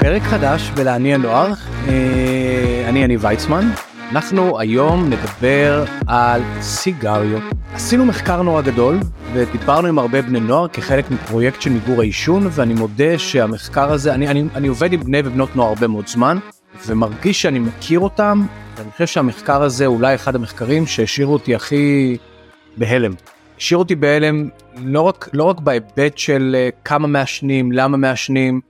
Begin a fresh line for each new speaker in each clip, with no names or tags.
לפרק חדש בלעניין נוער. אה, אני יניב ויצמן. אנחנו היום נדבר על סיגריות. עשינו מחקר נורא גדול ודיברנו עם הרבה בני נוער כחלק מפרויקט של מיגור העישון ואני מודה שהמחקר הזה, אני, אני, אני עובד עם בני ובנות נוער הרבה מאוד זמן ומרגיש שאני מכיר אותם ואני חושב שהמחקר הזה אולי אחד המחקרים שהשאירו אותי הכי בהלם. השאיר אותי בהלם לא רק, לא רק בהיבט של אה, כמה מעשנים, למה מעשנים,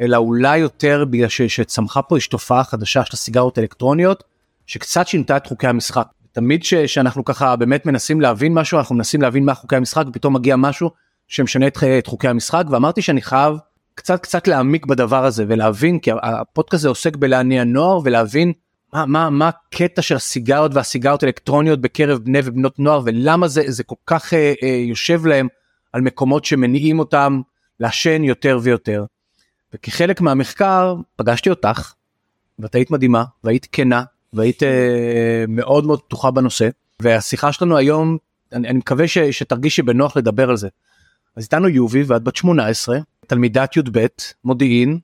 אלא אולי יותר בגלל ש, שצמחה פה יש תופעה חדשה של הסיגריות האלקטרוניות, שקצת שינתה את חוקי המשחק. תמיד ש, שאנחנו ככה באמת מנסים להבין משהו, אנחנו מנסים להבין מה חוקי המשחק, ופתאום מגיע משהו שמשנה את, חיי- את חוקי המשחק, ואמרתי שאני חייב קצת קצת להעמיק בדבר הזה ולהבין, כי ה- הפודקאסט הזה עוסק בלהניע נוער ולהבין מה, מה, מה הקטע של הסיגריות והסיגריות האלקטרוניות בקרב בני ובנות נוער, ולמה זה, זה כל כך אה, אה, יושב להם על מקומות שמניעים אותם לעשן יותר ויותר. וכחלק מהמחקר פגשתי אותך, ואת היית מדהימה, והיית כנה, והיית אה, מאוד מאוד פתוחה בנושא, והשיחה שלנו היום, אני, אני מקווה ש, שתרגישי בנוח לדבר על זה. אז איתנו יובי, ואת בת 18, תלמידת י"ב, מודיעין,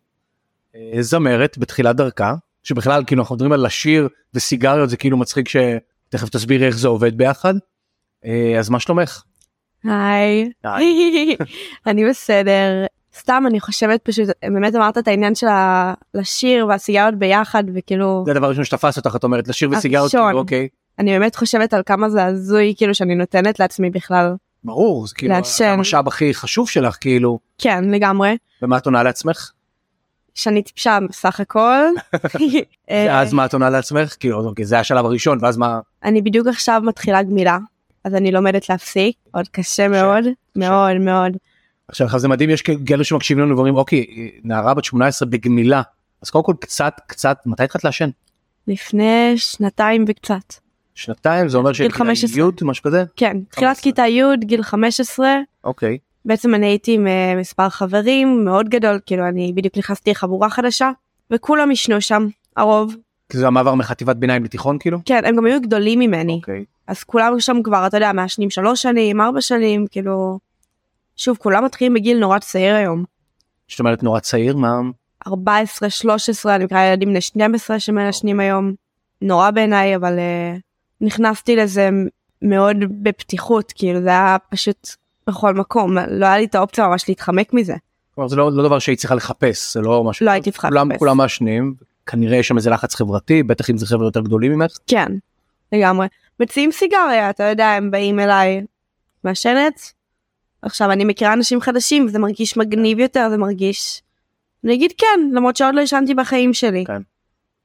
אה, זמרת בתחילת דרכה, שבכלל כאילו אנחנו מדברים על לשיר וסיגריות זה כאילו מצחיק שתכף תסבירי איך זה עובד ביחד. אה, אז מה שלומך?
היי. אני בסדר. סתם אני חושבת פשוט באמת אמרת את העניין של ה- לשיר והסיגריות ביחד וכאילו
זה הדבר הראשון שתפס אותך את אומרת לשיר וסיגריות
הראשון.
כאילו אוקיי.
אני באמת חושבת על כמה זה הזוי כאילו שאני נותנת לעצמי בכלל.
ברור זה כאילו
לעשן.
המשאב הכי חשוב שלך כאילו
כן לגמרי.
ומה את עונה לעצמך
שאני טיפשה בסך הכל. אה,
אז מה את עונה לעצמך כאילו אוקיי, זה השלב הראשון ואז מה
אני בדיוק עכשיו מתחילה גמילה אז אני לומדת להפסיק עוד קשה מאוד מאוד מאוד.
עכשיו לך זה מדהים יש כאלו שמקשיבים לנו ואומרים אוקיי נערה בת 18 בגמילה אז קודם כל קצת קצת מתי התחלת לעשן
לפני שנתיים וקצת.
שנתיים זה אומר
גיל
שכאילו
15.
י' משהו כזה
כן תחילת
15.
כיתה י' גיל 15
אוקיי
בעצם אני הייתי עם אה, מספר חברים מאוד גדול כאילו אני בדיוק נכנסתי לחבורה חדשה וכולם ישנו שם הרוב
כי זה המעבר מחטיבת ביניים לתיכון כאילו
כן הם גם היו גדולים ממני
אוקיי
אז כולם שם כבר אתה יודע מעשנים שלוש שנים ארבע שנים כאילו שוב כולם מתחילים בגיל נורא צעיר היום
זאת אומרת נורא צעיר מה
14 13 אני מכירה ילדים בני 12 שמעשנים היום נורא בעיניי אבל אה, נכנסתי לזה מאוד בפתיחות כאילו זה היה פשוט בכל מקום לא היה לי את האופציה ממש להתחמק מזה
כלומר, זה לא, לא דבר שהיית צריכה לחפש זה לא משהו
לא הייתי צריכה
כולם
לחפש.
כולם מעשנים כנראה יש שם איזה לחץ חברתי בטח אם זה חבר'ה יותר גדולים ממך
כן, לגמרי. מציעים סיגריה, אתה יודע, הם באים אליי, מעשנת. עכשיו, אני מכירה אנשים חדשים, זה מרגיש מגניב יותר, זה מרגיש... אני אגיד כן, למרות שעוד לא עישנתי בחיים שלי.
כן,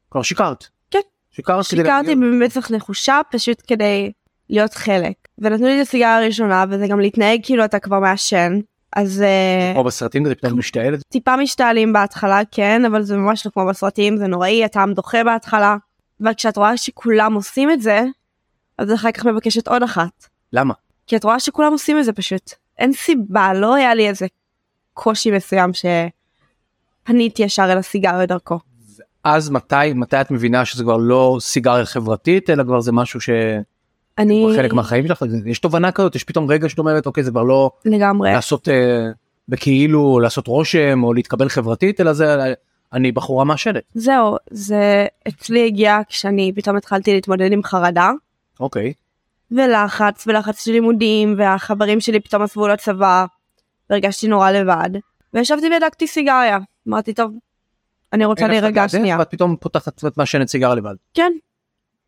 כלומר שיקרת
כן.
שיקרת כדי
שיקרתי במצח נחושה, פשוט כדי להיות חלק. ונתנו לי את הסיגריה הראשונה, וזה גם להתנהג כאילו אתה כבר מעשן. אז אה,
כמו בסרטים זה פתאום משתעלת
טיפה משתעלים בהתחלה, כן, אבל זה ממש לא כמו בסרטים, זה נוראי, הטעם דוחה בהתחלה. אבל כשאת רואה שכולם עושים את זה, אז אחר כך מבקשת עוד אחת.
למה
כי את רואה שכולם עושים את זה פשוט. אין סיבה, לא היה לי איזה קושי מסוים שפניתי ישר אל הסיגריה דרכו.
אז מתי מתי את מבינה שזה כבר לא סיגריה חברתית אלא כבר זה משהו שהוא
אה. אני
חלק מהחיים שלך יש תובנה כזאת יש פתאום רגע שאת אומרת אוקיי זה כבר לא
לגמרי,
לעשות אה, בכאילו לעשות רושם או להתקבל חברתית אלא זה אה, אני בחורה מעשנת
זהו, זה אצלי הגיע כשאני פתאום התחלתי להתמודד עם חרדה
אוקיי
ולחץ ולחץ של לימודים והחברים שלי פתאום עזבו לצבא והרגשתי נורא לבד וישבתי והדקתי סיגריה אמרתי טוב אני רוצה
אין הפסקה
להירגע
דרך,
שנייה
ואת פתאום פותחת ואת מעשנת סיגר לבד.
כן.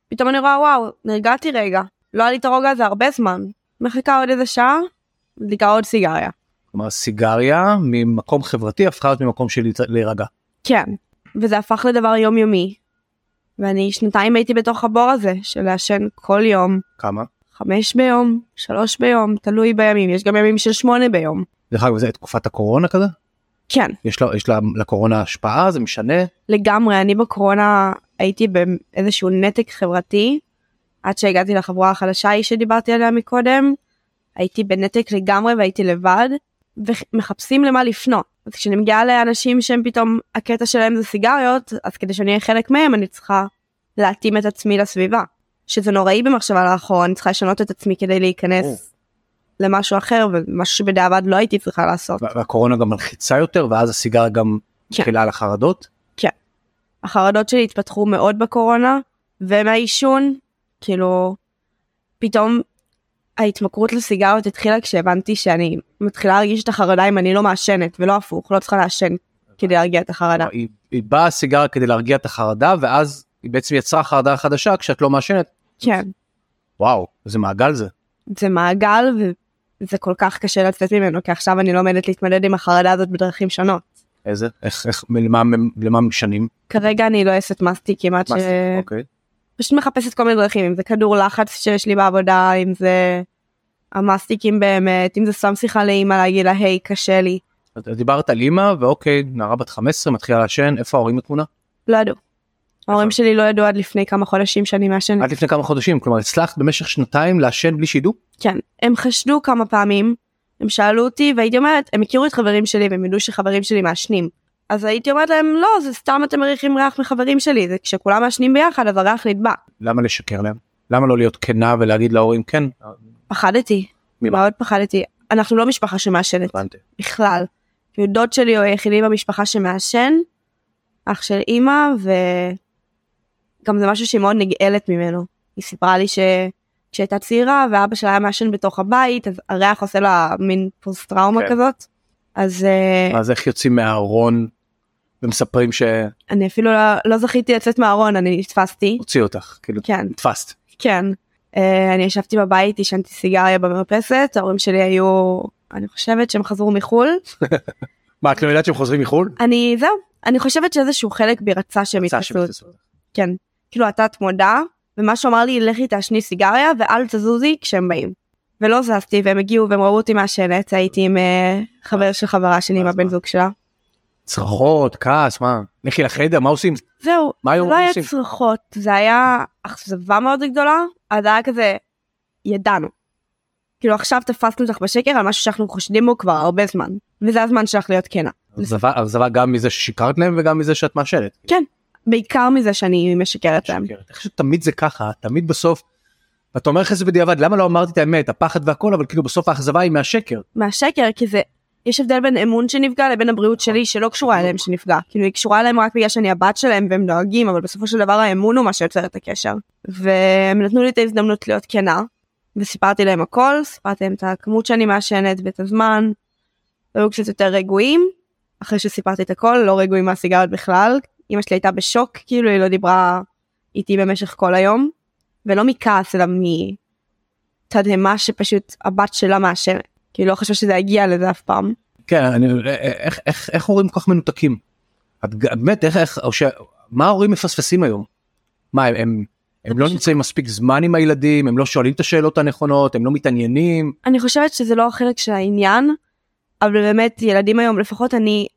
פתאום אני רואה וואו, נרגעתי רגע. לא היה לי את הרוגע הזה הרבה זמן. מחכה עוד איזה שעה, מדליקה עוד סיגריה.
כלומר סיגריה ממקום חברתי הפכה להיות ממקום של להיצ- להירגע.
כן. וזה הפך לדבר יומיומי. ואני שנתיים הייתי בתוך הבור הזה של לעשן כל יום,
כמה?
חמש ביום, שלוש ביום, תלוי בימים, יש גם ימים של שמונה ביום.
דרך אגב זה תקופת הקורונה כזה?
כן,
יש לה, יש לה לקורונה השפעה זה משנה?
לגמרי, אני בקורונה הייתי באיזשהו נתק חברתי, עד שהגעתי לחבורה החדשה ההיא שדיברתי עליה מקודם, הייתי בנתק לגמרי והייתי לבד, ומחפשים למה לפנות. אז כשאני מגיעה לאנשים שהם פתאום, הקטע שלהם זה סיגריות, אז כדי שאני אהיה חלק מהם אני צריכה להתאים את עצמי לסביבה. שזה נוראי במחשבה לאחור, אני צריכה לשנות את עצמי כדי
ברור.
להיכנס למשהו אחר, ומשהו שבדיעבד לא הייתי צריכה לעשות.
וה- והקורונה גם מלחיצה יותר ואז הסיגריה גם
כן.
מתחילה על החרדות?
החרדות שלי התפתחו מאוד בקורונה ומהעישון, כאילו פתאום ההתמכרות לסיגריות התחילה כשהבנתי שאני מתחילה להרגיש את החרדה אם אני לא מעשנת ולא הפוך, לא צריכה לעשן כדי להרגיע את החרדה.
היא, היא באה סיגריה כדי להרגיע את החרדה ואז היא בעצם יצרה חרדה חדשה כשאת לא מעשנת.
כן,
וואו, איזה מעגל זה.
זה מעגל וזה כל כך קשה לצאת ממנו כי עכשיו אני לומדת להתמודד עם החרדה הזאת בדרכים שונות.
איזה? איך, איך, למה, למה משנים?
כרגע אני לא אעשת מסטיק כמעט ש...
אוקיי.
פשוט מחפשת כל מיני דרכים אם זה כדור לחץ שיש לי בעבודה אם זה המאסטיקים באמת אם זה סתם שיחה לאימא להגיד לה היי קשה לי
את- את דיברת על אימא ואוקיי, נערה בת 15 מתחילה לעשן, איפה ההורים בתמונה?
לא ידעו. ההורים שלי לא ידעו עד לפני כמה חודשים שאני מעשנת
עד לפני כמה חודשים, כלומר הצלחת במשך שנתיים לעשן בלי שידעו?
כן הם חשדו כמה פעמים הם שאלו אותי והייתי אומרת הם הכירו את חברים שלי והם ידעו שחברים שלי מעשנים אז הייתי אומרת להם לא זה סתם אתם מריחים ריח מחברים שלי זה כשכולם מעשנים ביחד אז הריח נדבק
למה לשקר להם? למה לא להיות כנה ולהגיד להורים כן?
פחדתי
ממה?
מאוד פחדתי אנחנו לא משפחה שמעשנת
הבנתי.
בכלל. כאילו, דוד שלי הוא היחידי במשפחה שמעשן, אח של אימא, וגם זה משהו שהיא מאוד נגאלת ממנו. היא סיפרה לי שכשהייתה צעירה ואבא שלה היה מעשן בתוך הבית, אז הריח עושה לה מין פוסט טראומה
כן.
כזאת. אז אה,
אז איך יוצאים מהארון ומספרים שהוציאו
אני אפילו לא, לא זכיתי לצאת מהארון, אני נתפסתי.
אותך, כאילו
כן,
נתפסת.
כן. אה, אני ישבתי בבית, עישנתי סיגריה במרפסת, ההורים שלי היו, אני חושבת שהם חזרו מחו"ל.
מה, את לא יודעת שהם חוזרים מחו"ל?
אני, זהו, אני חושבת שאיזשהו חלק בי רצה שהם
רצה
יתפסו
שהם
אותי.
יתפסו אותך.
כן. כאילו אתה תמודה, ומה שהוא אמר לי, לכי תעשני סיגריה ואל תזוזי כשהם באים. ולא זזתי, והם הגיעו והם ראו אותי מעשנת, הייתי עם אה, חבר של חברה שלי, עם
ואז
הבן
מה?
זוג שלה.
צרחות, כעס, מה? לכי לחדר, מה עושים?
זהו,
מה
זה
היו
לא היה
עושים?
צרחות, זה היה אכזבה מאוד גדולה, אז היה כזה, ידענו. כאילו עכשיו תפסנו אותך בשקר על משהו שאנחנו חושדים בו כבר הרבה זמן, וזה הזמן שלך להיות כנה.
אכזבה- אכזבה גם מזה ששיקרת להם וגם מזה שאת מעשנת.
בעיקר מזה שאני משקרת להם.
משקרת. איך שתמיד זה ככה, תמיד בסוף, אתה אומר לך את זה בדיעבד, למה לא אמרתי את האמת, הפחד והכל, אבל כאילו בסוף האכזבה היא מהשקר.
מהשקר כי זה יש הבדל בין אמון שנפגע לבין הבריאות שלי שלא קשורה אליהם שנפגע כאילו היא קשורה אליהם רק בגלל שאני הבת שלהם והם דואגים אבל בסופו של דבר האמון הוא מה שיוצר את הקשר והם נתנו לי את ההזדמנות להיות כנה וסיפרתי להם הכל סיפרתי להם את הכמות שאני מעשנת ואת הזמן היו קצת יותר רגועים אחרי שסיפרתי את הכל לא רגועים מהסיגריות בכלל אמא שלי הייתה בשוק כאילו היא לא דיברה איתי במשך כל היום ולא מכעס אלא מתדהמה שפשוט הבת שלה מעשנת. כי לא חשבתי שזה יגיע לזה אף פעם.
כן, אני, איך, איך, איך הורים כל כך מנותקים? את ג- באמת, איך, איך, או ש... מה ההורים מפספסים היום? מה, הם, הם, הם לא
פשוט-
נמצאים מספיק זמן עם הילדים, הם לא שואלים את השאלות הנכונות, הם לא מתעניינים,
אני חושבת שזה לא החלק של העניין, אבל באמת ילדים היום, לפחות אני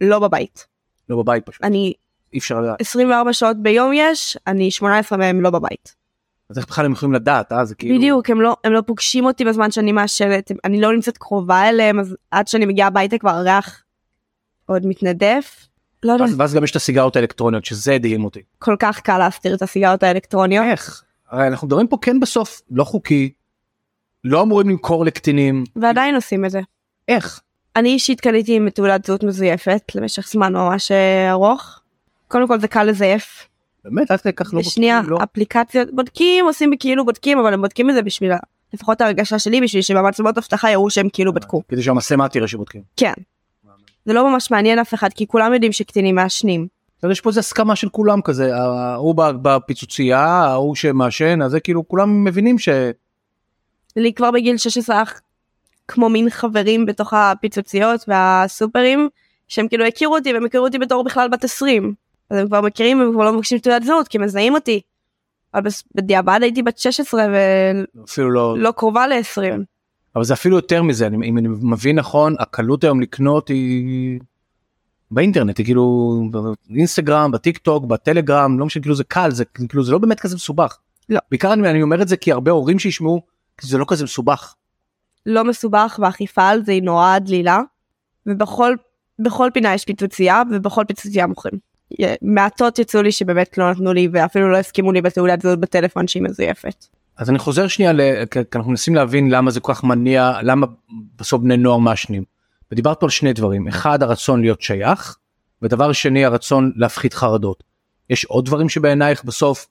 לא בבית.
לא בבית פשוט,
אני
אי אפשר לדעת.
24 שעות ביום יש, אני 18 מהם לא בבית.
אז איך בכלל הם יכולים לדעת, אה? זה כאילו...
בדיוק, הם לא, הם לא פוגשים אותי בזמן שאני מעשנת, הם- אני לא נמצאת קרובה אליהם, אז עד שאני מגיעה הביתה כבר הריח עוד מתנדף. לא יודעת,
ואז, ואז גם יש את הסיגריות האלקטרוניות, שזה הדהים אותי.
כל כך קל להסתיר את הסיגריות האלקטרוניות.
איך? הרי אנחנו מדברים פה כן בסוף, לא חוקי, לא אמורים למכור לקטינים,
ועדיין עושים את זה.
איך?
אני אישית קניתי עם תעודת זהות מזויפת למשך זמן ממש אה, ארוך. קודם כל זה קל לזייף.
באמת, עד כדי כך לא
בשנייה,
בודקים, לא?
אפליקציות בודקים, עושים כאילו בודקים, אבל הם בודקים את זה בשביל, ה- לפחות ההרגשה שלי, בשביל שבמצלמות אבטחה יראו שהם כאילו בדקו.
כדי שהמצלמה תראה שבודקים.
כן. זה לא ממש מעניין אף אחד, כי כולם יודעים שקטינים מעשנים.
אז יש פה איזה הסכמה של כולם כזה, ההוא ב- בפיצוצייה, ההוא שמעשן, אז זה כאילו כולם מבינים ש...
לי כבר בגיל 16 אח כמו מין חברים בתוך הפיצוציות והסופרים, שהם כאילו הכירו אותי, והם הכירו אותי בתור בכלל בת 20. אז הם כבר מכירים, הם כבר לא מבקשים תעודת זהות, כי הם מזהים אותי. אבל בס- בדיעבד הייתי בת 16 ולא
אפילו לא...
קרובה ל-20.
אבל זה אפילו יותר מזה, אני, אם אני מבין נכון, הקלות היום לקנות היא... באינטרנט, היא כאילו באינסטגרם, בטיק טוק, בטלגרם, לא משנה, כאילו זה קל, זה כאילו זה לא באמת כזה מסובך.
לא.
בעיקר אני, אני אומר את זה כי הרבה הורים שישמעו, כי זה לא כזה מסובך.
לא מסובך והאכיפה על זה היא נורא דלילה ובכל בכל פינה יש פיצוצייה ובכל פיצוצייה מוכרים. י- מעטות יצאו לי שבאמת לא נתנו לי ואפילו לא הסכימו לי בתעודת זהות בטלפון שהיא מזויפת.
אז אני חוזר שנייה, ל- כי כי אנחנו מנסים להבין למה זה כל כך מניע, למה בסוף בני נוער מעשנים. ודיברת פה על שני דברים, אחד הרצון להיות שייך, ודבר שני הרצון להפחית חרדות. יש עוד דברים שבעינייך בסוף,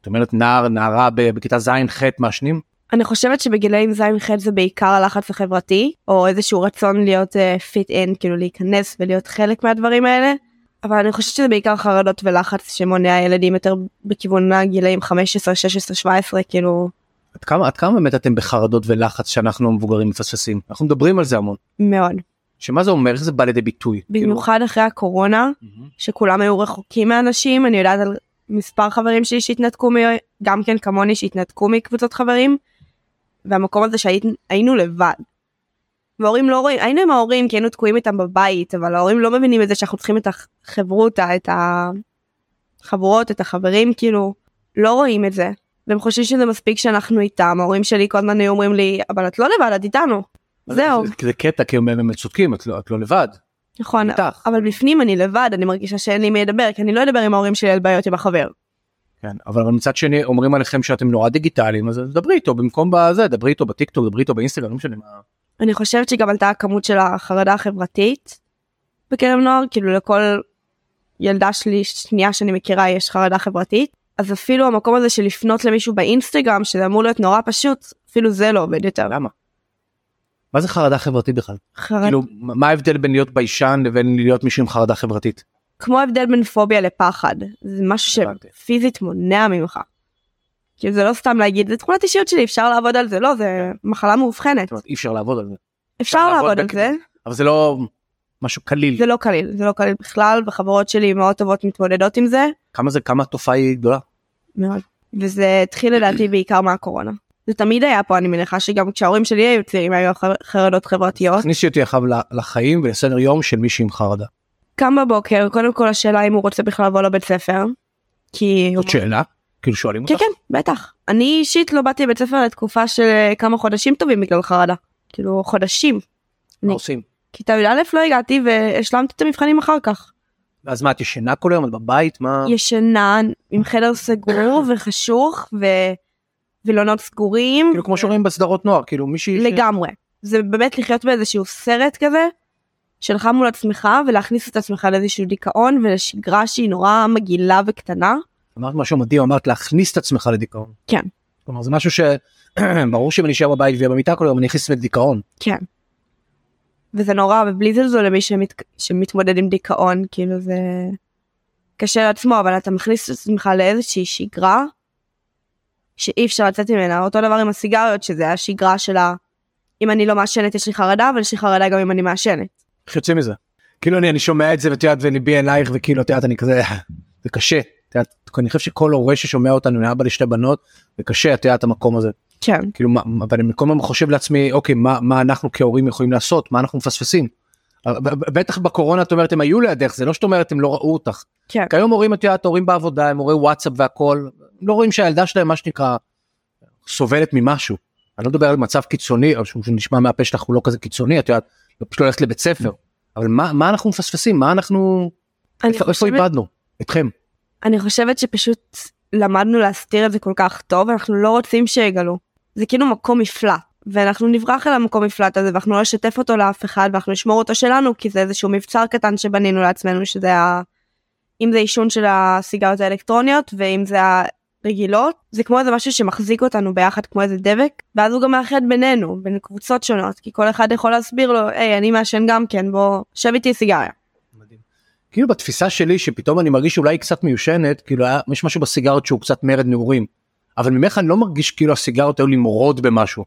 את אומרת נער, נערה ב- בכיתה ז'-ח' מעשנים?
אני חושבת שבגילאים ז'-ח' זה בעיקר הלחץ החברתי, או איזשהו רצון להיות פיט uh, אין, כאילו להיכנס ולהיות חלק מהדברים האלה, אבל אני חושבת שזה בעיקר חרדות ולחץ שמונע ילדים יותר בכיוון הגילאים 15, 16, 17, כאילו
עד כמה, עד כמה באמת אתם בחרדות ולחץ שאנחנו המבוגרים מפספסים? אנחנו מדברים על זה המון.
מאוד.
שמה זה אומר? איך זה בא לידי ביטוי?
במיוחד אחרי הקורונה,
כאילו-
שכולם היו רחוקים מאנשים, אני יודעת על מספר חברים שלי שהתנתקו, מ... גם כן כמוני שהתנתקו מקבוצות חברים, והמקום הזה שהיינו לבד. וההורים לא רואים, היינו עם ההורים כי היינו תקועים איתם בבית, אבל ההורים לא מבינים את זה שאנחנו צריכים את החברותא, את החברות, את החברים, כאילו, לא רואים את זה. והם חושבים שזה מספיק שאנחנו איתם, ההורים שלי כל הזמן היו אומרים לי, אבל את לא לבד, את איתנו. זהו,
זה- זה קטע כי הם באמת צודקים את לא, את לא לבד.
נכון,
איתך.
אבל בפנים אני לבד, אני מרגישה שאין לי מי לדבר, כי אני לא אדבר עם ההורים שלי על בעיות עם החבר.
כן, אבל מצד שני אומרים עליכם שאתם נורא דיגיטליים אז דברי איתו במקום בזה דברי איתו בטיקטוק דברי איתו באינסטגרם לא משנה מה.
אני חושבת שגם עלתה הכמות של החרדה החברתית בקרב נוער, כאילו לכל ילדה שלי שנייה שאני מכירה יש חרדה חברתית, אז אפילו המקום הזה של לפנות למישהו באינסטגרם, שזה אמור להיות נורא פשוט, אפילו זה לא עובד יותר.
למה? מה זה חרדה חברתית בכלל?
חרד...
כאילו מה מה ההבדל בין להיות ביישן לבין להיות מישהו עם חרדה חברתית?
כמו ההבדל בין פוביה לפחד, זה משהו
הבנתי.
שפיזית מונע ממך. כאילו זה לא סתם להגיד, זה תכונת אישיות שלי, אפשר לעבוד על זה, לא, זה מחלה מאובחנת.
זאת אומרת אי אפשר לעבוד על זה.
אפשר
לעבוד
לעבוד על
בכדי-
זה,
אבל זה לא משהו קליל.
זה לא קליל, זה לא קליל בכלל, וחברות שלי מאוד טובות מתמודדות עם זה,
כמה זה כמה התופעה היא גדולה?
מאוד. וזה התחיל לדעתי בעיקר מהקורונה. זה תמיד היה פה, אני מניחה שגם כשההורים שלי היו צעירים היו חר- חרדות חברתיות.
תכניסי אותי אחריו ל- לחיים ולסדר יום של מישהי עם חרדה.
קם בבוקר, קודם כל השאלה אם הוא רוצה בכלל לבוא לבית ספר, כי...
זאת שאלה? כאילו שואלים אותך?
כן, כן, בטח. אני אישית לא באתי לבית ספר לתקופה של כמה חודשים טובים בגלל חרדה. כאילו, חודשים.
מה
אני-
עושים?
כיתה י"א לא הגעתי והשלמתי את המבחנים אחר כך.
אז מה את ישנה כל היום את בבית מה?
ישנה עם חדר סגור וחשוך ו... וילונות סגורים.
כאילו כמו שרואים בסדרות נוער כאילו מישהי ש-
לגמרי. זה באמת לחיות באיזשהו סרט כזה שלך מול עצמך ולהכניס את עצמך לאיזשהו דיכאון ולשגרה שהיא נורא מגעילה וקטנה.
אמרת משהו מדהים אמרת להכניס את עצמך לדיכאון.
כן.
כלומר זה משהו שברור שאם אני אשאר בבית ואהיה במיטה כל היום אני אכניס לדיכאון.
כן. וזה נורא ובלי זלזול למי שמת... שמתמודד עם דיכאון כאילו זה קשה לעצמו אבל אתה מכניס את עצמך לאיזושהי שגרה שאי אפשר לצאת ממנה אותו דבר עם הסיגריות שזה השגרה של ה... אם אני לא מעשנת יש לי חרדה אבל יש לי חרדה גם אם אני מעשנת.
איך יוצא מזה? כאילו אני אני שומע את זה ואת יודעת וליבי אלייך וכאילו את יודעת אני כזה זה קשה. את יודעת, אני חושב שכל הורה ששומע אותנו אני אבא לשתי בנות זה קשה את יודעת המקום הזה.
כן.
כאילו מה מה- אבל אני כל הזמן חושב לעצמי אוקיי מה מה אנחנו כהורים יכולים לעשות מה אנחנו מפספסים. ב- ב- בטח בקורונה את אומרת הם היו לידך זה לא שאת אומרת הם לא ראו אותך.
כן.
כיום הורים את יודעת הורים בעבודה הם הורי וואטסאפ והכל לא רואים שהילדה שלהם מה שנקרא סובלת ממשהו. אני לא מדבר על מצב קיצוני או שהוא נשמע מהפה שלך הוא לא כזה קיצוני את יודעת לא פשוט הולכת לבית ספר אבל מה מה אנחנו מפספסים מה אנחנו
אני
איפה איפה
חושבת-
איבדנו אתכם
אני חושבת שפשוט למדנו להסתיר את זה כל כך טוב, אנחנו לא רוצים שיגלו. זה כאילו מקום מפלט, ואנחנו נברח אל המקום מפלט הזה, ואנחנו לא נשתף אותו לאף אחד, ואנחנו נשמור אותו שלנו, כי זה איזשהו מבצר קטן שבנינו לעצמנו, שזה ה... אם זה עישון של הסיגריות האלקטרוניות, ואם זה הרגילות, זה כמו איזה משהו שמחזיק אותנו ביחד, כמו איזה דבק, ואז הוא גם מאחד בינינו, בין קבוצות שונות, כי כל אחד יכול להסביר לו, היי, אני מעשן גם כן, בוא, שב איתי סיגריה.
כאילו בתפיסה שלי שפתאום אני מרגיש אולי היא קצת מיושנת כאילו היה- יש משהו בסיגריות שהוא קצת מרד נעורים. אבל ממך אני לא מרגיש כאילו הסיגריות היו לי מורד במשהו.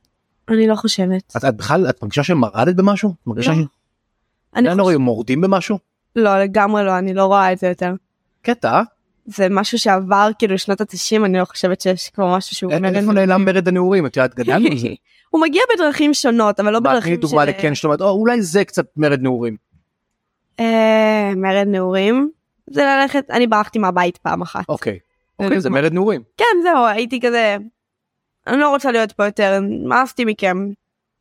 אני לא חושבת.
את, את בכלל את מרגישה שמרדת במשהו? את מרגישה
לא.
ש...
אני
לא
חושבת...
נורא מורדים במשהו?
לא, לגמרי לא, אני לא רואה את זה יותר.
קטע. אה?
זה משהו שעבר כאילו שנות ה-90 אני לא חושבת שיש כבר משהו שהוא
אין-
מרד
איפה נעלם מרד הנעורים? את יודעת גדלנו על זה.
הוא מגיע בדרכים שונות אבל לא
מה, תני
בדרכים
לי דוגמה
של-
לכן שאת אומרת "או, אולי זה קצת מרד נעורים.
אה, מרד נעורים זה ללכת אני ברחתי מהבית פעם אחת
אוקיי.
זה
אוקיי זה
דוגמה.
מרד נעורים.
כן זהו הייתי כזה אני לא רוצה להיות פה יותר מאסתי מכם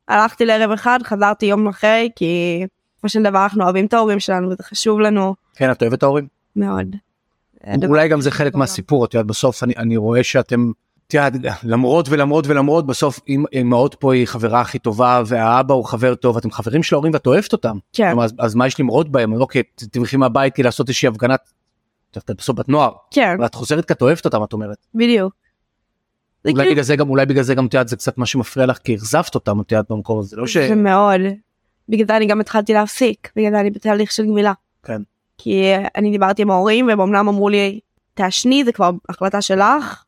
הלכתי לערב אחד חזרתי יום אחרי כי כמו של דבר אנחנו אוהבים את ההורים שלנו וזה חשוב לנו
כן את אוהבת את ההורים?
מאוד.
אולי גם זה חלק
בעולם.
מהסיפור את יודעת בסוף אני אני רואה שאתם. את יודעת, למרות ולמרות ולמרות בסוף אם אמהות פה היא חברה הכי טובה והאבא הוא חבר טוב אתם חברים של ההורים ואת אוהבת אותם
כן
כלומר, אז, אז מה יש למרוד בהם אז אוקיי ת- תלכי מהבית כי לעשות איזושהי הפגנת עכשיו, את בסוף בת נוער,
כן,
ואת חוזרת כי את אוהבת אותם, את אומרת.
בדיוק. זה
אולי
כאילו-
בגלל זה גם, אולי בגלל זה גם, את יודעת, זה קצת מה שמפריע לך, כי אכזבת אותם, את יודעת, במקור הזה, לא ש...
זה מאוד. בגלל זה אני גם התחלתי להפסיק, בגלל זה אני בתהליך של גמילה.
כן.
כי אה, אני דיברתי עם ההורים והם אמנם אמרו לי תעשני זה כבר החלטה שלך,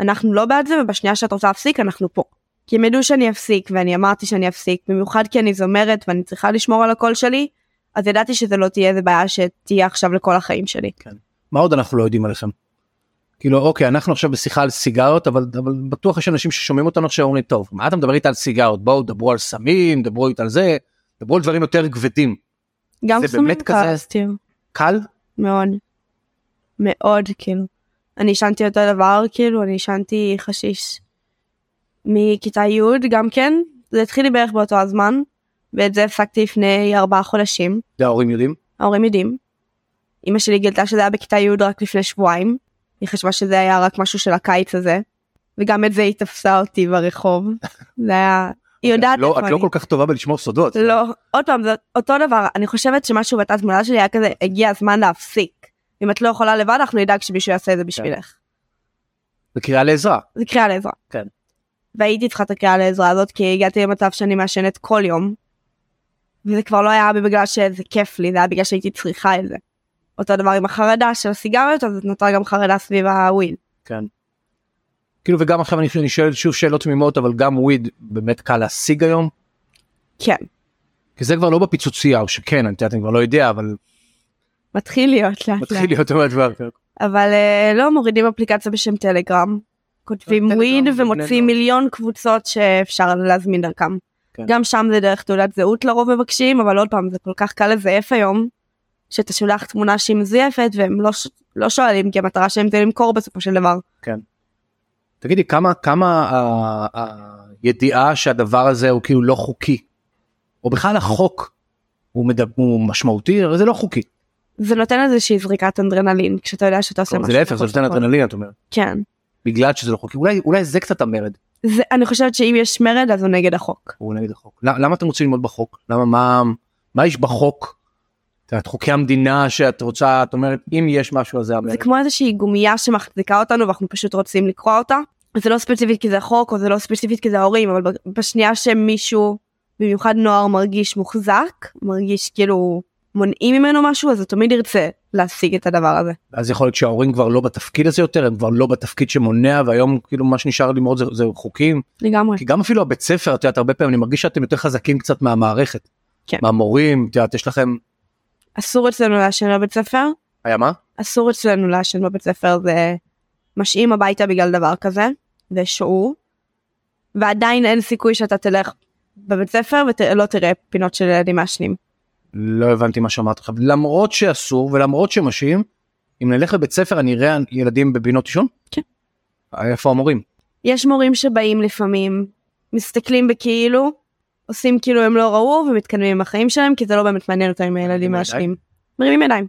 אנחנו לא בעד זה ובשנייה שאת רוצה להפסיק אנחנו פה. כי הם ידעו שאני אפסיק ואני אמרתי שאני אפסיק במיוחד כי אני זמרת ואני צריכה לשמור על הקול שלי אז ידעתי שזה לא תהיה איזה בעיה שתהיה עכשיו לכל החיים שלי.
מה עוד אנחנו לא יודעים עליכם? כאילו אוקיי אנחנו עכשיו בשיחה על סיגריות אבל, אבל בטוח יש אנשים ששומעים אותנו עכשיו אומרים טוב מה אתה מדבר איתה על סיגריות בואו דברו על סמים דברו איתה על זה דברו על דברים יותר כבדים
גם
זה
סמים
באמת כזה?
כעסתי
קל
מאוד. מאוד כאילו. אני עישנתי אותו דבר כאילו אני עישנתי חשיש. מכיתה י' גם כן זה התחיל לי בערך באותו הזמן ואת זה הפסקתי לפני ארבעה חודשים.
זה ההורים יודעים
ההורים יודעים. אמא שלי גילתה שזה היה בכיתה י' רק לפני שבועיים. היא חשבה שזה היה רק משהו של הקיץ הזה. וגם את זה היא תפסה אותי ברחוב. זה היה... היא יודעת
את לא,
איפה
את לא
אני.
כל כך טובה בלשמור סודות
לא, עוד פעם, זה אותו דבר. אני חושבת שמשהו בתת מודע שלי היה כזה, הגיע הזמן להפסיק. אם את לא יכולה לבד, אנחנו נדאג שמישהו יעשה את זה בשבילך.
זה קריאה לעזרה
זה קריאה לעזרה.
כן.
והייתי צריכה את הקריאה לעזרה הזאת כי הגעתי למצב שאני מעשנת כל יום. וזה כבר לא היה בגלל שזה כיף לי, זה היה בגלל שהייתי צריכה את זה. אותו דבר עם החרדה של הסיגריות, אז נותרה גם חרדה סביב הוויל.
כן. כאילו וגם עכשיו אני, אני שואל שוב שאלות תמימות אבל גם וויד באמת קל להשיג היום
כן,
כי זה כבר לא בפיצוצייה או שכן אני, יודעת, אני כבר לא יודע אבל
מתחיל להיות לאט לאט.
מתחיל להיות עוד דבר.
אבל אה, לא מורידים אפליקציה בשם טלגרם. כותבים
טלגרם
וויד
ובני
ומוציאים
נוער.
מיליון קבוצות שאפשר להזמין דרכם.
כן.
גם שם זה דרך תעודת זהות לרוב מבקשים, אבל עוד פעם זה כל כך קל לזייף היום, שאתה שולח תמונה שהיא מזויפת והם לא, ש- לא שואלים כי המטרה שלהם זה למכור בסופו של דבר.
תגידי כמה כמה ה- ה- הידיעה שהדבר הזה הוא כאילו לא חוקי או בכלל החוק הוא, מדב, הוא משמעותי אבל זה לא חוקי
זה נותן איזושהי זריקת אדרנלין כשאתה יודע שאתה עושה
כלומר,
משהו.
זה להפך זה
מחוץ
נותן
לקוד.
אדרנלין את אומרת
כן.
בגלל שזה לא חוקי אולי אולי זה קצת המרד
זה, אני חושבת שאם יש מרד אז הוא נגד החוק.
הוא נגד החוק למה, למה אתם רוצים ללמוד בחוק למה מה מה יש בחוק. את יודעת, חוקי המדינה שאת רוצה את אומרת אם יש משהו אז זה המרד.
זה כמו איזושהי גומייה שמחזיקה אותנו ואנחנו פשוט רוצים לקרוע אותה. זה לא ספציפית כי זה החוק או זה לא ספציפית כי זה ההורים אבל ב- בשנייה שמישהו במיוחד נוער מרגיש מוחזק מרגיש כאילו מונעים ממנו משהו אז הוא תמיד ירצה להשיג את הדבר הזה.
אז יכול להיות שההורים כבר לא בתפקיד הזה יותר הם כבר לא בתפקיד שמונע והיום כאילו מה שנשאר ללמוד זה, זה חוקים
לגמרי.
כי גם אפילו הבית ספר את יודעת הרבה פעמים אני מרגיש שאתם יותר חזקים קצת מהמערכת.
כן.
מהמורים את יודעת יש לכם
אסור אצלנו לעשן בבית ספר
היה מה?
אסור אצלנו לעשן בבית ספר זה משאים הביתה בגלל דבר כזה זה שיעור ועדיין אין סיכוי שאתה תלך בבית ספר ולא תראה פינות של ילדים מעשנים.
לא הבנתי מה שאמרת עכשיו למרות שאסור ולמרות שמשאים אם נלך לבית ספר אני אראה ילדים בבינות עישון?
כן.
איפה המורים?
יש מורים שבאים לפעמים, מסתכלים בכאילו, עושים כאילו הם לא ראו ומתקדמים עם החיים שלהם, כי זה לא באמת מעניין אותם אם הילדים
מרימים
מעשנים. מרימים ידיים.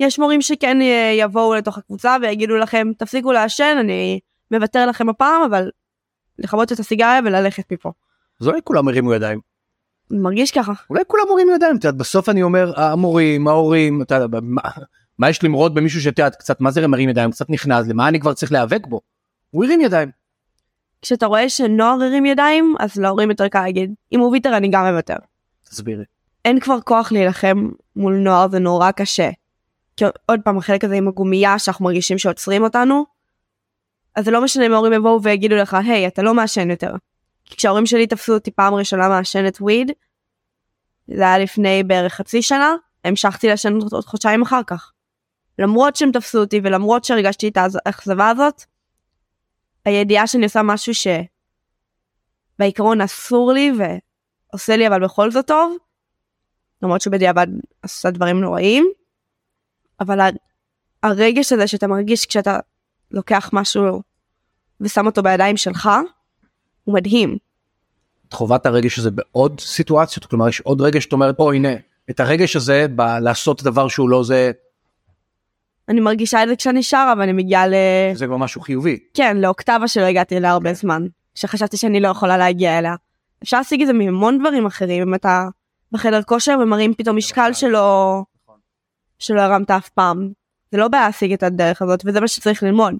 יש מורים שכן אה, יבואו לתוך הקבוצה ויגידו לכם, תפסיקו לעשן, אני מוותר לכם הפעם, אבל לכבות את הסיגריה וללכת מפה.
אז אולי כולם הרימו ידיים
זה מרגיש ככה.
אולי כולם הרימו ידיים את יודעת בסוף אני אומר המורים ההורים אתה יודע, מה, מה יש למרוד במישהו שאת יודעת קצת מה זה מרים ידיים קצת נכנס למה אני כבר צריך להיאבק בו. הוא הרים ידיים
כשאתה רואה שנוער הרים ידיים, אז להורים יותר קל להגיד, אם הוא ויתר אני גם מוותר.
תסבירי.
אין כבר כוח להילחם מול נוער זה נורא קשה. כי עוד פעם החלק הזה עם הגומייה שאנחנו מרגישים שעוצרים אותנו. אז זה לא משנה אם ההורים יבואו ויגידו לך היי אתה לא מעשן יותר. כי כשההורים שלי תפסו אותי פעם ראשונה מעשנת וויד. זה היה לפני בערך חצי שנה המשכתי לעשן עוד- עוד חודשיים אחר כך. למרות שהם תפסו אותי ולמרות שהרגשתי את האכז- האכזבה הזאת. הידיעה שאני עושה משהו שבעיקרון אסור לי ועושה לי אבל בכל זאת טוב. למרות שבדיעבד עשה דברים נוראים, אבל ה- הרגש הזה שאתה מרגיש כשאתה לוקח משהו ושם אותו בידיים שלך, הוא מדהים.
את חווה את הרגש הזה בעוד סיטואציות כלומר יש עוד רגש שאת אומרת או הנה את הרגש הזה בלעשות דבר שהוא לא זה
אני מרגישה את זה כשאני שרה ואני מגיעה ל...
זה כבר משהו חיובי
כן, לאוקטבה שלא הגעתי אליה
כן.
הרבה זמן, שחשבתי שאני לא יכולה להגיע אליה. אפשר להשיג את זה מהמון דברים אחרים, אם אתה
כן, נכון.
בחדר כושר ומראים פתאום משקל שלא, שלא הרמת אף פעם. זה לא בעיה להשיג את הדרך הזאת וזה מה שצריך ללמוד.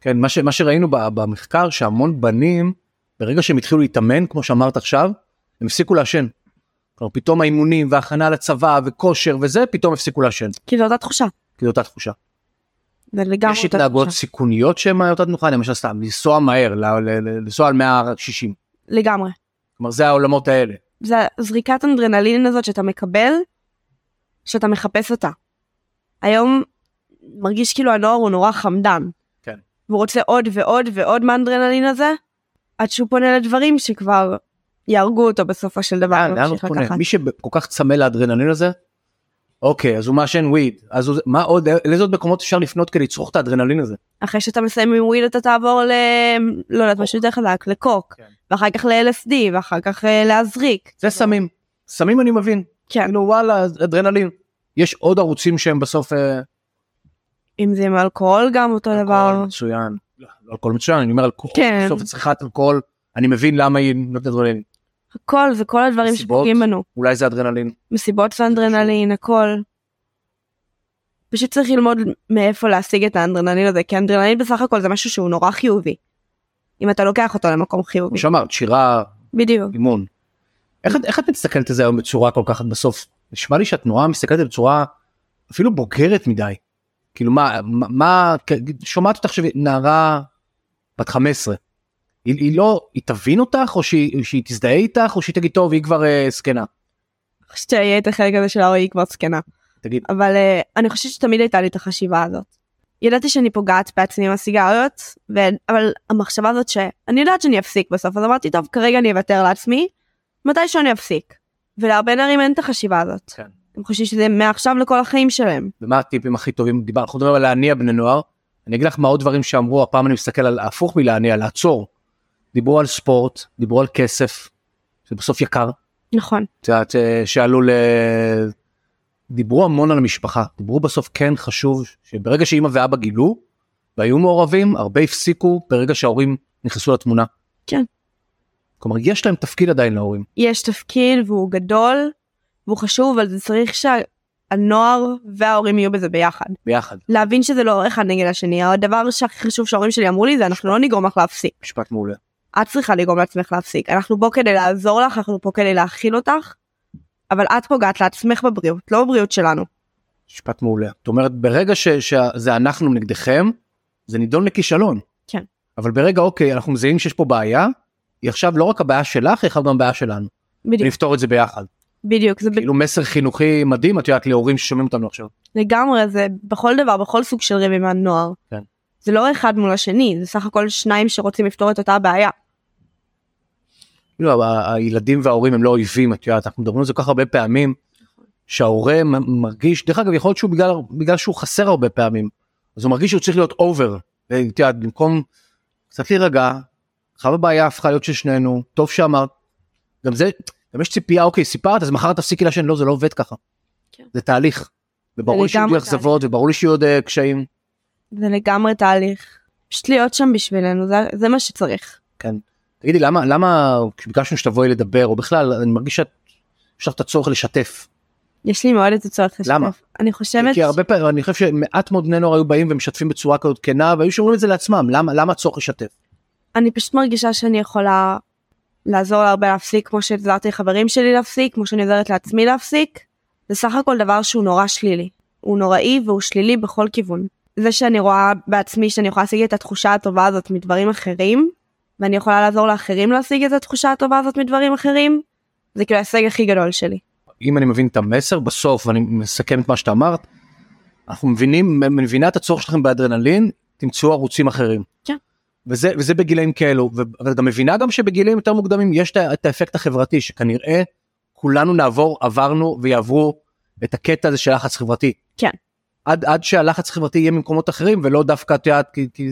כן, מה, ש, מה שראינו ב- במחקר שהמון בנים, ברגע שהם התחילו להתאמן, כמו שאמרת עכשיו, הם הפסיקו לעשן. כלומר, פתאום האימונים וההכנה לצבא וכושר וזה, פתאום הפסיקו לעשן.
כי זו אותה תחושה.
כי זו אותה תחושה.
זה לגמרי
יש התנהגות סיכוניות שהן מאותה תנוחה, למשל סתם, לנסוע מהר, ל- ל- ל- לנסוע על 160.
לגמרי.
כלומר, זה העולמות האלה.
זה הזריקת אנדרנלין הזאת שאתה מקבל, שאתה מחפש אותה. היום מרגיש כאילו הנוער הוא נורא חמדן.
כן.
והוא רוצה עוד ועוד ועוד מהאנדרנלין הזה, עד שהוא פונה לדברים שכבר יהרגו אותו בסופו של דבר.
אה, לאן
הוא
לאן הוא
ממשיך
פונה?
לקחת.
מי שכל כך צמא לאדרנלין הזה, אוקיי, אז הוא מעשן וויד, אז הוא, מה עוד, לאיזה עוד מקומות אפשר לפנות כדי לצרוך את האדרנלין הזה?
אחרי שאתה מסיים עם וויד אתה תעבור ל... לא יודעת, משהו יותר חזק, לקוק.
כן.
ואחר כך ל-LSD, ואחר כך אה, להזריק.
זה סמים. סמים אני מבין.
כן.
כאילו וואלה, אדרנלין. יש עוד ערוצים שהם בסוף... אה,
אם זה עם אלכוהול גם אותו דבר.
אלכוהול מצוין. לא, לא אלכוהול מצוין, אני אומר אלכוהול.
כן.
בסוף צריכת אלכוהול, אני מבין למה היא נותנת אדרנלין.
הכל זה כל הדברים
מסיבות.
שפוגעים בנו.
אולי זה אדרנלין.
מסיבות ואנדרנלין, הכל. פשוט צריך ללמוד מאיפה להשיג את האנדרנלין הזה, כי האנדרנלין בסך הכל זה משהו שהוא נורא חיובי. אם אתה לוקח אותו למקום חיובי.
כמו שאמרת, שירה,
בדיוק.
אימון. איך, את- איך את מסתכלת על זה היום בצורה כל כך בסוף? נשמע לי שהתנועה מסתכלת על זה בצורה אפילו בוגרת מדי. כאילו מה, מה, מה כן, שומעת אותך שנערה בת 15. היא, היא לא, היא תבין אותך או שהיא, שהיא תזדהה איתך או שהיא תגיד טוב היא כבר אה, זקנה.
אני חושבת שיהיה את החלק הזה של ההורי היא כבר זקנה.
תגיד,
אבל uh, אני חושבת שתמיד הייתה לי את החשיבה הזאת. ידעתי שאני פוגעת בעצמי עם הסיגריות, ו... אבל המחשבה הזאת שאני יודעת שאני אפסיק בסוף, אז אמרתי טוב כרגע אני אוותר לעצמי, מתישהו אני אפסיק. ולהרבה נערים אין את החשיבה הזאת.
כן.
הם חושבים שזה מעכשיו לכל החיים שלהם.
ומה הטיפים הכי טובים דיבר אנחנו מדברים על להניע בני נוער אני אגיד לך מה עוד דברים שאמרו הפעם אני מסתכל על הפוך מלהניע לעצור. דיברו על ספורט דיברו על כסף. זה בסוף יקר.
נכון.
את יודעת אה, שעלו ל... דיברו המון על המשפחה דיברו בסוף כן חשוב שברגע שאימא ואבא גילו והיו מעורבים הרבה הפסיקו ברגע שההורים נכנסו לתמונה.
כן.
כלומר יש להם תפקיד עדיין להורים
יש תפקיד והוא גדול, והוא חשוב, אבל זה צריך שהנוער וההורים יהיו בזה ביחד.
ביחד.
להבין שזה לא אחד נגד השני, הדבר שהכי חשוב שההורים שלי אמרו לי זה אנחנו לא נגרום לך להפסיק.
משפט מעולה.
את צריכה לגרום לעצמך להפסיק. אנחנו פה כדי לעזור לך, אנחנו פה כדי להכיל אותך, אבל את פוגעת לעצמך בבריאות, לא בבריאות שלנו.
משפט מעולה. זאת אומרת, ברגע ש, שזה אנחנו נגדכם, זה נידון לכישלון.
כן.
אבל ברגע, אוקיי, אנחנו מזהים שיש פה בעיה, היא עכשיו לא רק הבעיה שלך, היא עכשיו גם הבעיה שלנו.
בדיוק,
ונפתור את זה ביחד.
בדיוק, זה ב-
כאילו מסר חינוכי מדהים, את יודעת, להורים ששומעים אותנו עכשיו.
לגמרי, זה בכל דבר, בכל סוג של רבי מהנוער.
כן.
זה לא אחד מול השני, זה סך הכל שניים שרוצים לפתור את אותה הבעיה.
כאילו, ה- הילדים וההורים הם לא אויבים, את יודעת, אנחנו מדברים על זה כל כך הרבה פעמים, שההורה מ- מרגיש, דרך אגב, יכול להיות שהוא בגלל, בגלל שהוא חסר הרבה פעמים, אז הוא מרגיש שהוא צריך להיות אובר, את יודעת, במקום קצת להירגע, עכשיו הבעיה הפכה להיות של שנינו, טוב שאמרת, גם זה, גם יש ציפייה, אוקיי, סיפרת, אז מחר תפסיקי לעשן, לא, זה לא עובד ככה.
כן.
זה תהליך. וברור לי שיהיו
לגמרי
לי אכזבות, וברור לי שיהיו עוד אה, קשיים.
זה לגמרי תהליך. פשוט להיות שם בשבילנו, זה, זה מה שצריך.
כן. תגידי למה למה כשביקשנו שתבואי לדבר או בכלל אני מרגיש שאת יש לך את הצורך לשתף
יש לי מאוד את הצורך לשתף.
למה?
אני חושבת...
כי הרבה פעמים אני חושב שמעט מאוד בני נוער היו באים ומשתפים בצורה כזאת כנה והיו שאומרים את זה לעצמם למה למה הצורך לשתף.
אני פשוט מרגישה שאני יכולה לעזור להרבה להפסיק כמו שעזרתי לחברים שלי להפסיק כמו שאני עוזרת לעצמי להפסיק. זה סך הכל דבר שהוא נורא שלילי. הוא נוראי והוא שלילי בכל כיוון. זה שאני רואה בעצמי שאני יכולה להשיג את התחושה הטובה הזאת מדברים אחרים ואני יכולה לעזור לאחרים להשיג את התחושה הטובה הזאת מדברים אחרים זה כאילו ההישג הכי גדול שלי.
אם אני מבין את המסר בסוף ואני מסכם את מה שאת אמרת. אנחנו מבינים מבינה את הצורך שלכם באדרנלין תמצאו ערוצים אחרים.
כן.
וזה וזה בגילאים כאלו ו- אבל גם מבינה גם שבגילאים יותר מוקדמים יש את ה- את האפקט החברתי שכנראה כולנו נעבור עברנו ויעברו את הקטע הזה של לחץ חברתי.
כן.
עד עד שהלחץ החברתי יהיה ממקומות אחרים ולא דווקא את יודעת כי, כי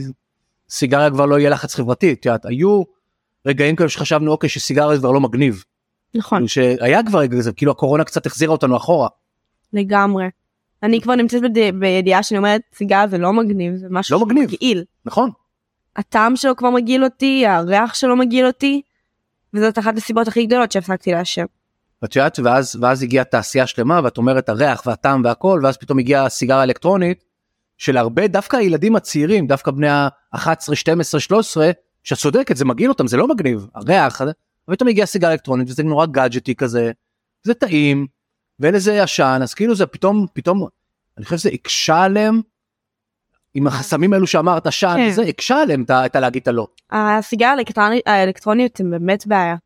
סיגריה כבר לא יהיה לחץ חברתי את יודעת היו רגעים כאלה שחשבנו אוקיי שסיגריה זה כבר לא מגניב.
נכון.
כאילו שהיה כבר רגע כזה כאילו הקורונה קצת החזירה אותנו אחורה.
לגמרי. אני כבר נמצאת בד... בידיעה שאני אומרת סיגר זה לא מגניב זה משהו
לא
שהוא
מגניב.
מגעיל.
נכון.
הטעם שלו כבר מגעיל אותי, הריח שלו מגעיל אותי, וזאת אחת הסיבות הכי גדולות שהפסקתי לעשן.
ואת יודעת, ואז, ואז הגיעה תעשייה שלמה, ואת אומרת הריח והטעם והכל, ואז פתאום הגיעה הסיגריה האלקטרונית, שלהרבה, דווקא הילדים הצעירים, דווקא בני ה-11, 12, 13, שאת צודקת, זה מגעיל אותם, זה לא מגניב, הריח, ופתאום הגיעה סיגריה אלקטרונית, וזה נורא גאדג'טי כזה, זה טעים, ואין לזה עשן, אז כאילו זה פתאום, פתאום, אני חושב שזה הקשה עליהם, עם החסמים האלו שאמרת, עשן,
כן.
זה הקשה עליהם את ה- את הלהגיד את הלא.
הסיגריה האלקטרונית- האלקטרונית הם באמת בעיה.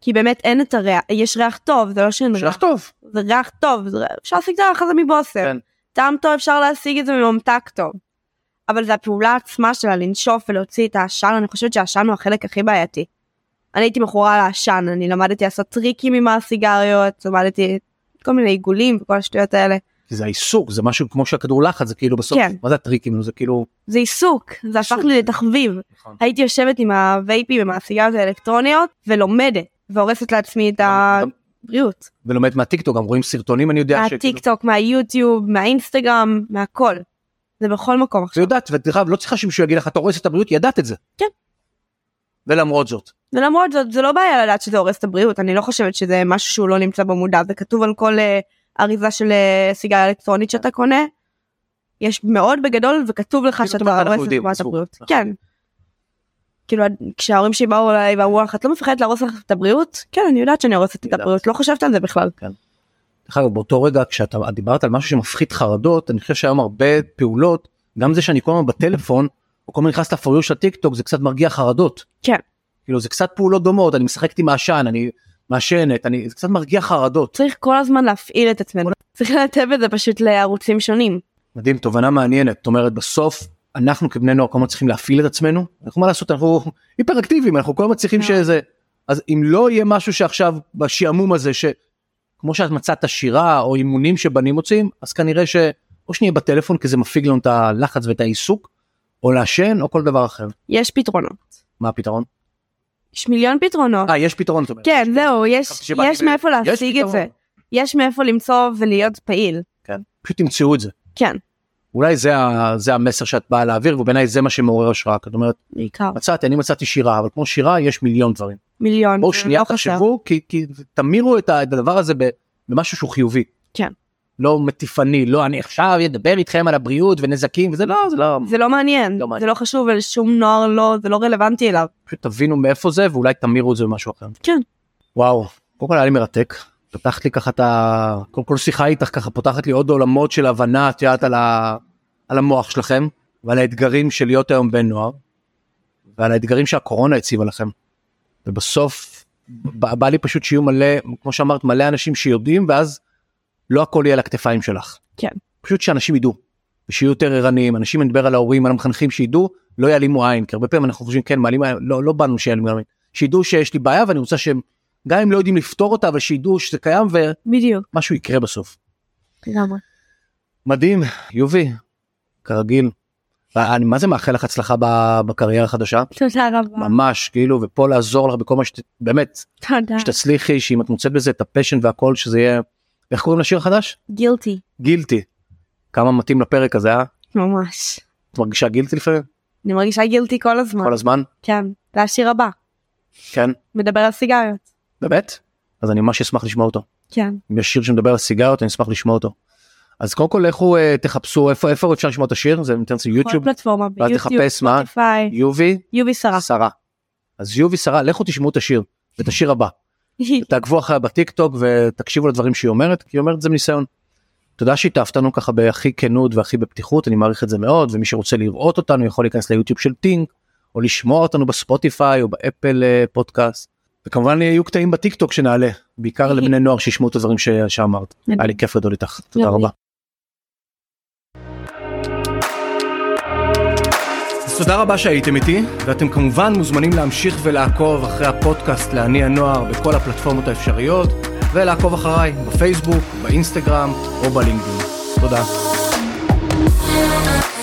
כי באמת אין את הריח, יש ריח טוב, זה לא שאין
שלך
ריח,
טוב.
זה ריח טוב, זה... אפשר להשיג את הריח הזה מבוסר.
כן.
טעם טוב אפשר להשיג את זה מממתק טוב. אבל זה הפעולה עצמה שלה לנשוף ולהוציא את העשן, אני חושבת שהעשן הוא החלק הכי בעייתי. אני הייתי מכורה לעשן, אני למדתי לעשות טריקים עם הסיגריות, למדתי כל מיני עיגולים וכל השטויות האלה.
כי זה העיסוק, זה משהו כמו שהכדור לחץ, זה כאילו בסוף,
כן.
מה זה הטריקים, זה כאילו...
זה עיסוק, זה הפך
עיסוק.
לי לתחביב. הייתי יושבת עם הווייפים, עם הסיגריות האלקטרוניות, ולומדת, והורסת לעצמי את הבריאות.
ולומד מהטיקטוק, גם רואים סרטונים, אני יודע כן, שכאילו...
מהטיקטוק, מהיוטיוב, מהאינסטגרם, מהכל. זה בכל מקום
זה
עכשיו.
יודעת, ואת יודעת, לא צריכה שמישהו יגיד לך, אתה הורס את הבריאות, ידעת את זה.
כן.
ולמרות זאת,
ולמרות זאת, זה לא בעיה לדעת שזה הורס את הבריאות, אני לא חושבת שזה משהו שהוא לא נמצא במודע, זה כתוב על כל אה, אריזה של אה, סיגריה אלקטרונית שאתה קונה. יש מאוד בגדול, וכתוב לך
כאילו,
שאתה
אתה אומר, אנחנו
הורס את
יודעים, נכון.
תנועת
עזבו.
הבריאות.
אנחנו
כן. כאילו, כשההורים שלי באו אליי ואמרו לך, את לא מפחדת להרוס לך את הבריאות? כן, אני יודעת שאני הורסת את
יודעת.
הבריאות, לא חושבת על זה בכלל.
דרך אגב, באותו רגע כשאתה את דיברת על משהו שמפחית חרדות, אני חושב שהיום הרבה פעולות, גם זה שאני כל הזמן בטלפון, או כל הזמן נכנס לפריו של הטיקטוק, זה קצת מרגיע חרדות.
כן.
כאילו זה קצת פעולות דומות, אני משחקת עם העשן, אני מעשנת, אני, זה קצת מרגיע חרדות.
צריך כל הזמן להפעיל את עצמנו. צריך לנתב את זה פשוט לערוצים שונים.
מדהים, תובנה מעניינת. זאת אומרת, בסוף אנחנו כבני נוער כל הזמן צריכים להפעיל את עצמנו. אנחנו מה לעשות, אנחנו היפראקטיביים, אנחנו כל הזמן צריכים
מאוד.
שזה... אז אם לא יהיה משהו שעכשיו בשעמום הזה, שכמו שאת מצאת שירה או אימונים שבנים מוצאים, אז כנראה ש... או שנהיה בטלפון כי זה מפיג לנו את הלחץ ואת העיסוק, או לעשן או כל דבר אחר.
יש פתרונות.
מה הפתרון?
יש מיליון פתרונות.
אה, יש פתרון, זאת אומרת.
כן,
יש-
זהו,
חשבתי
יש
שבאתי
יש
ב-
מאיפה
יש
להשיג את
פתרון.
זה. יש מאיפה למצוא ולהיות פעיל.
פשוט תמצאו את זה.
כן,
אולי זה, ה... זה המסר שאת באה להעביר, ובעיניי זה מה שמעורר השראה. זאת אומרת,
בעיקר.
מצאתי, אני מצאתי שירה, אבל כמו שירה יש מיליון דברים.
מיליון.
בואו
זה
שנייה
לא חסר.
תחשבו כי, כי תמירו את ה- את הדבר הזה ב- במשהו שהוא חיובי.
כן.
לא מטיפני לא אני עכשיו אדבר איתכם על הבריאות ונזקים וזה לא זה לא
זה לא מעניין,
לא מעניין.
זה לא חשוב לשום נוער, לא, זה לא רלוונטי אליו.
פשוט תבינו מאיפה זה ואולי תמירו את זה במשהו אחר.
כן.
וואו קודם כל היה לי מרתק פתחת לי ככה את ה... קודם כל שיחה איתך ככה פותחת לי עוד עולמות של הבנה את יודעת על, ה... על המוח שלכם ועל האתגרים של להיות היום בן נוער ועל האתגרים שהקורונה הציבה לכם. ובסוף ב- בא לי פשוט שיהיו מלא כמו שאמרת מלא אנשים שיודעים ואז לא הכל יהיה על הכתפיים שלך.
כן.
פשוט שאנשים ידעו. ושיהיו יותר ערניים אנשים אני מדבר על ההורים על המחנכים שידעו לא יעלימו עין כי הרבה פעמים אנחנו חושבים כן מעלים עין לא לא באנו שיעלימו עין שידעו שיש לי בעיה ואני רוצה שהם גם אם לא יודעים לפתור אותה אבל שידעו שזה קיים
בדיוק.
ומשהו יקרה בסוף.
לגמרי.
מדהים יובי כרגיל. אה, אני מה זה מאחל לך הצלחה ב- בקריירה החדשה
תודה רבה.
ממש כאילו ופה לעזור לך בכל מה שאת באמת
תודה.
שתצליחי שאם את מוצאת בזה את הפשן והכל שזה יהיה איך קוראים לשיר החדש?
גילטי.
גילטי. כמה מתאים לפרק הזה אה?
ממש.
את מרגישה גילטי לפעמים?
אני מרגישה גילטי כל הזמן.
כל הזמן?
כן. זה השיר הבא.
כן.
מדבר על סיגריות.
באמת? אז אני ממש אשמח לשמוע אותו.
כן.
אם יש שיר שמדבר על סיגריות אני אשמח לשמוע אותו. אז קודם כל לכו אה, תחפשו איפה איפה אפשר לשמוע את השיר זה ניתן לזה
כל
יוטיוב
פלטפורמה
ואז
ביוטיוב,
תחפש אה? מה
ספוטיפיי,
יובי
יובי שרה. כן.
שרה. אז יובי שרה לכו תשמעו את השיר ואת השיר הבא תעקבו אחריה בטיקטוק ותקשיבו לדברים שהיא אומרת כי היא אומרת את זה מניסיון. תודה שהתאהבת לנו ככה בהכי כנות והכי בפתיחות אני מעריך את זה מאוד ומי שרוצה לראות אותנו יכול להיכנס ליוטיוב של טינק או לשמוע אותנו בספוטיפיי או באפל אה, פודקאסט. וכמובן יהיו קטעים בטיקטוק שנעלה בעיקר לבני נוער שישמעו את הדברים ש- שאמרת. היה לי כיף גדול איתך תודה
גם לי.
רבה. אז תודה רבה שהייתם איתי, ואתם כמובן מוזמנים להמשיך ולעקוב אחרי הפודקאסט לעני הנוער בכל הפלטפורמות האפשריות, ולעקוב אחריי בפייסבוק, באינסטגרם או בלינקדאין. תודה.
Thank you.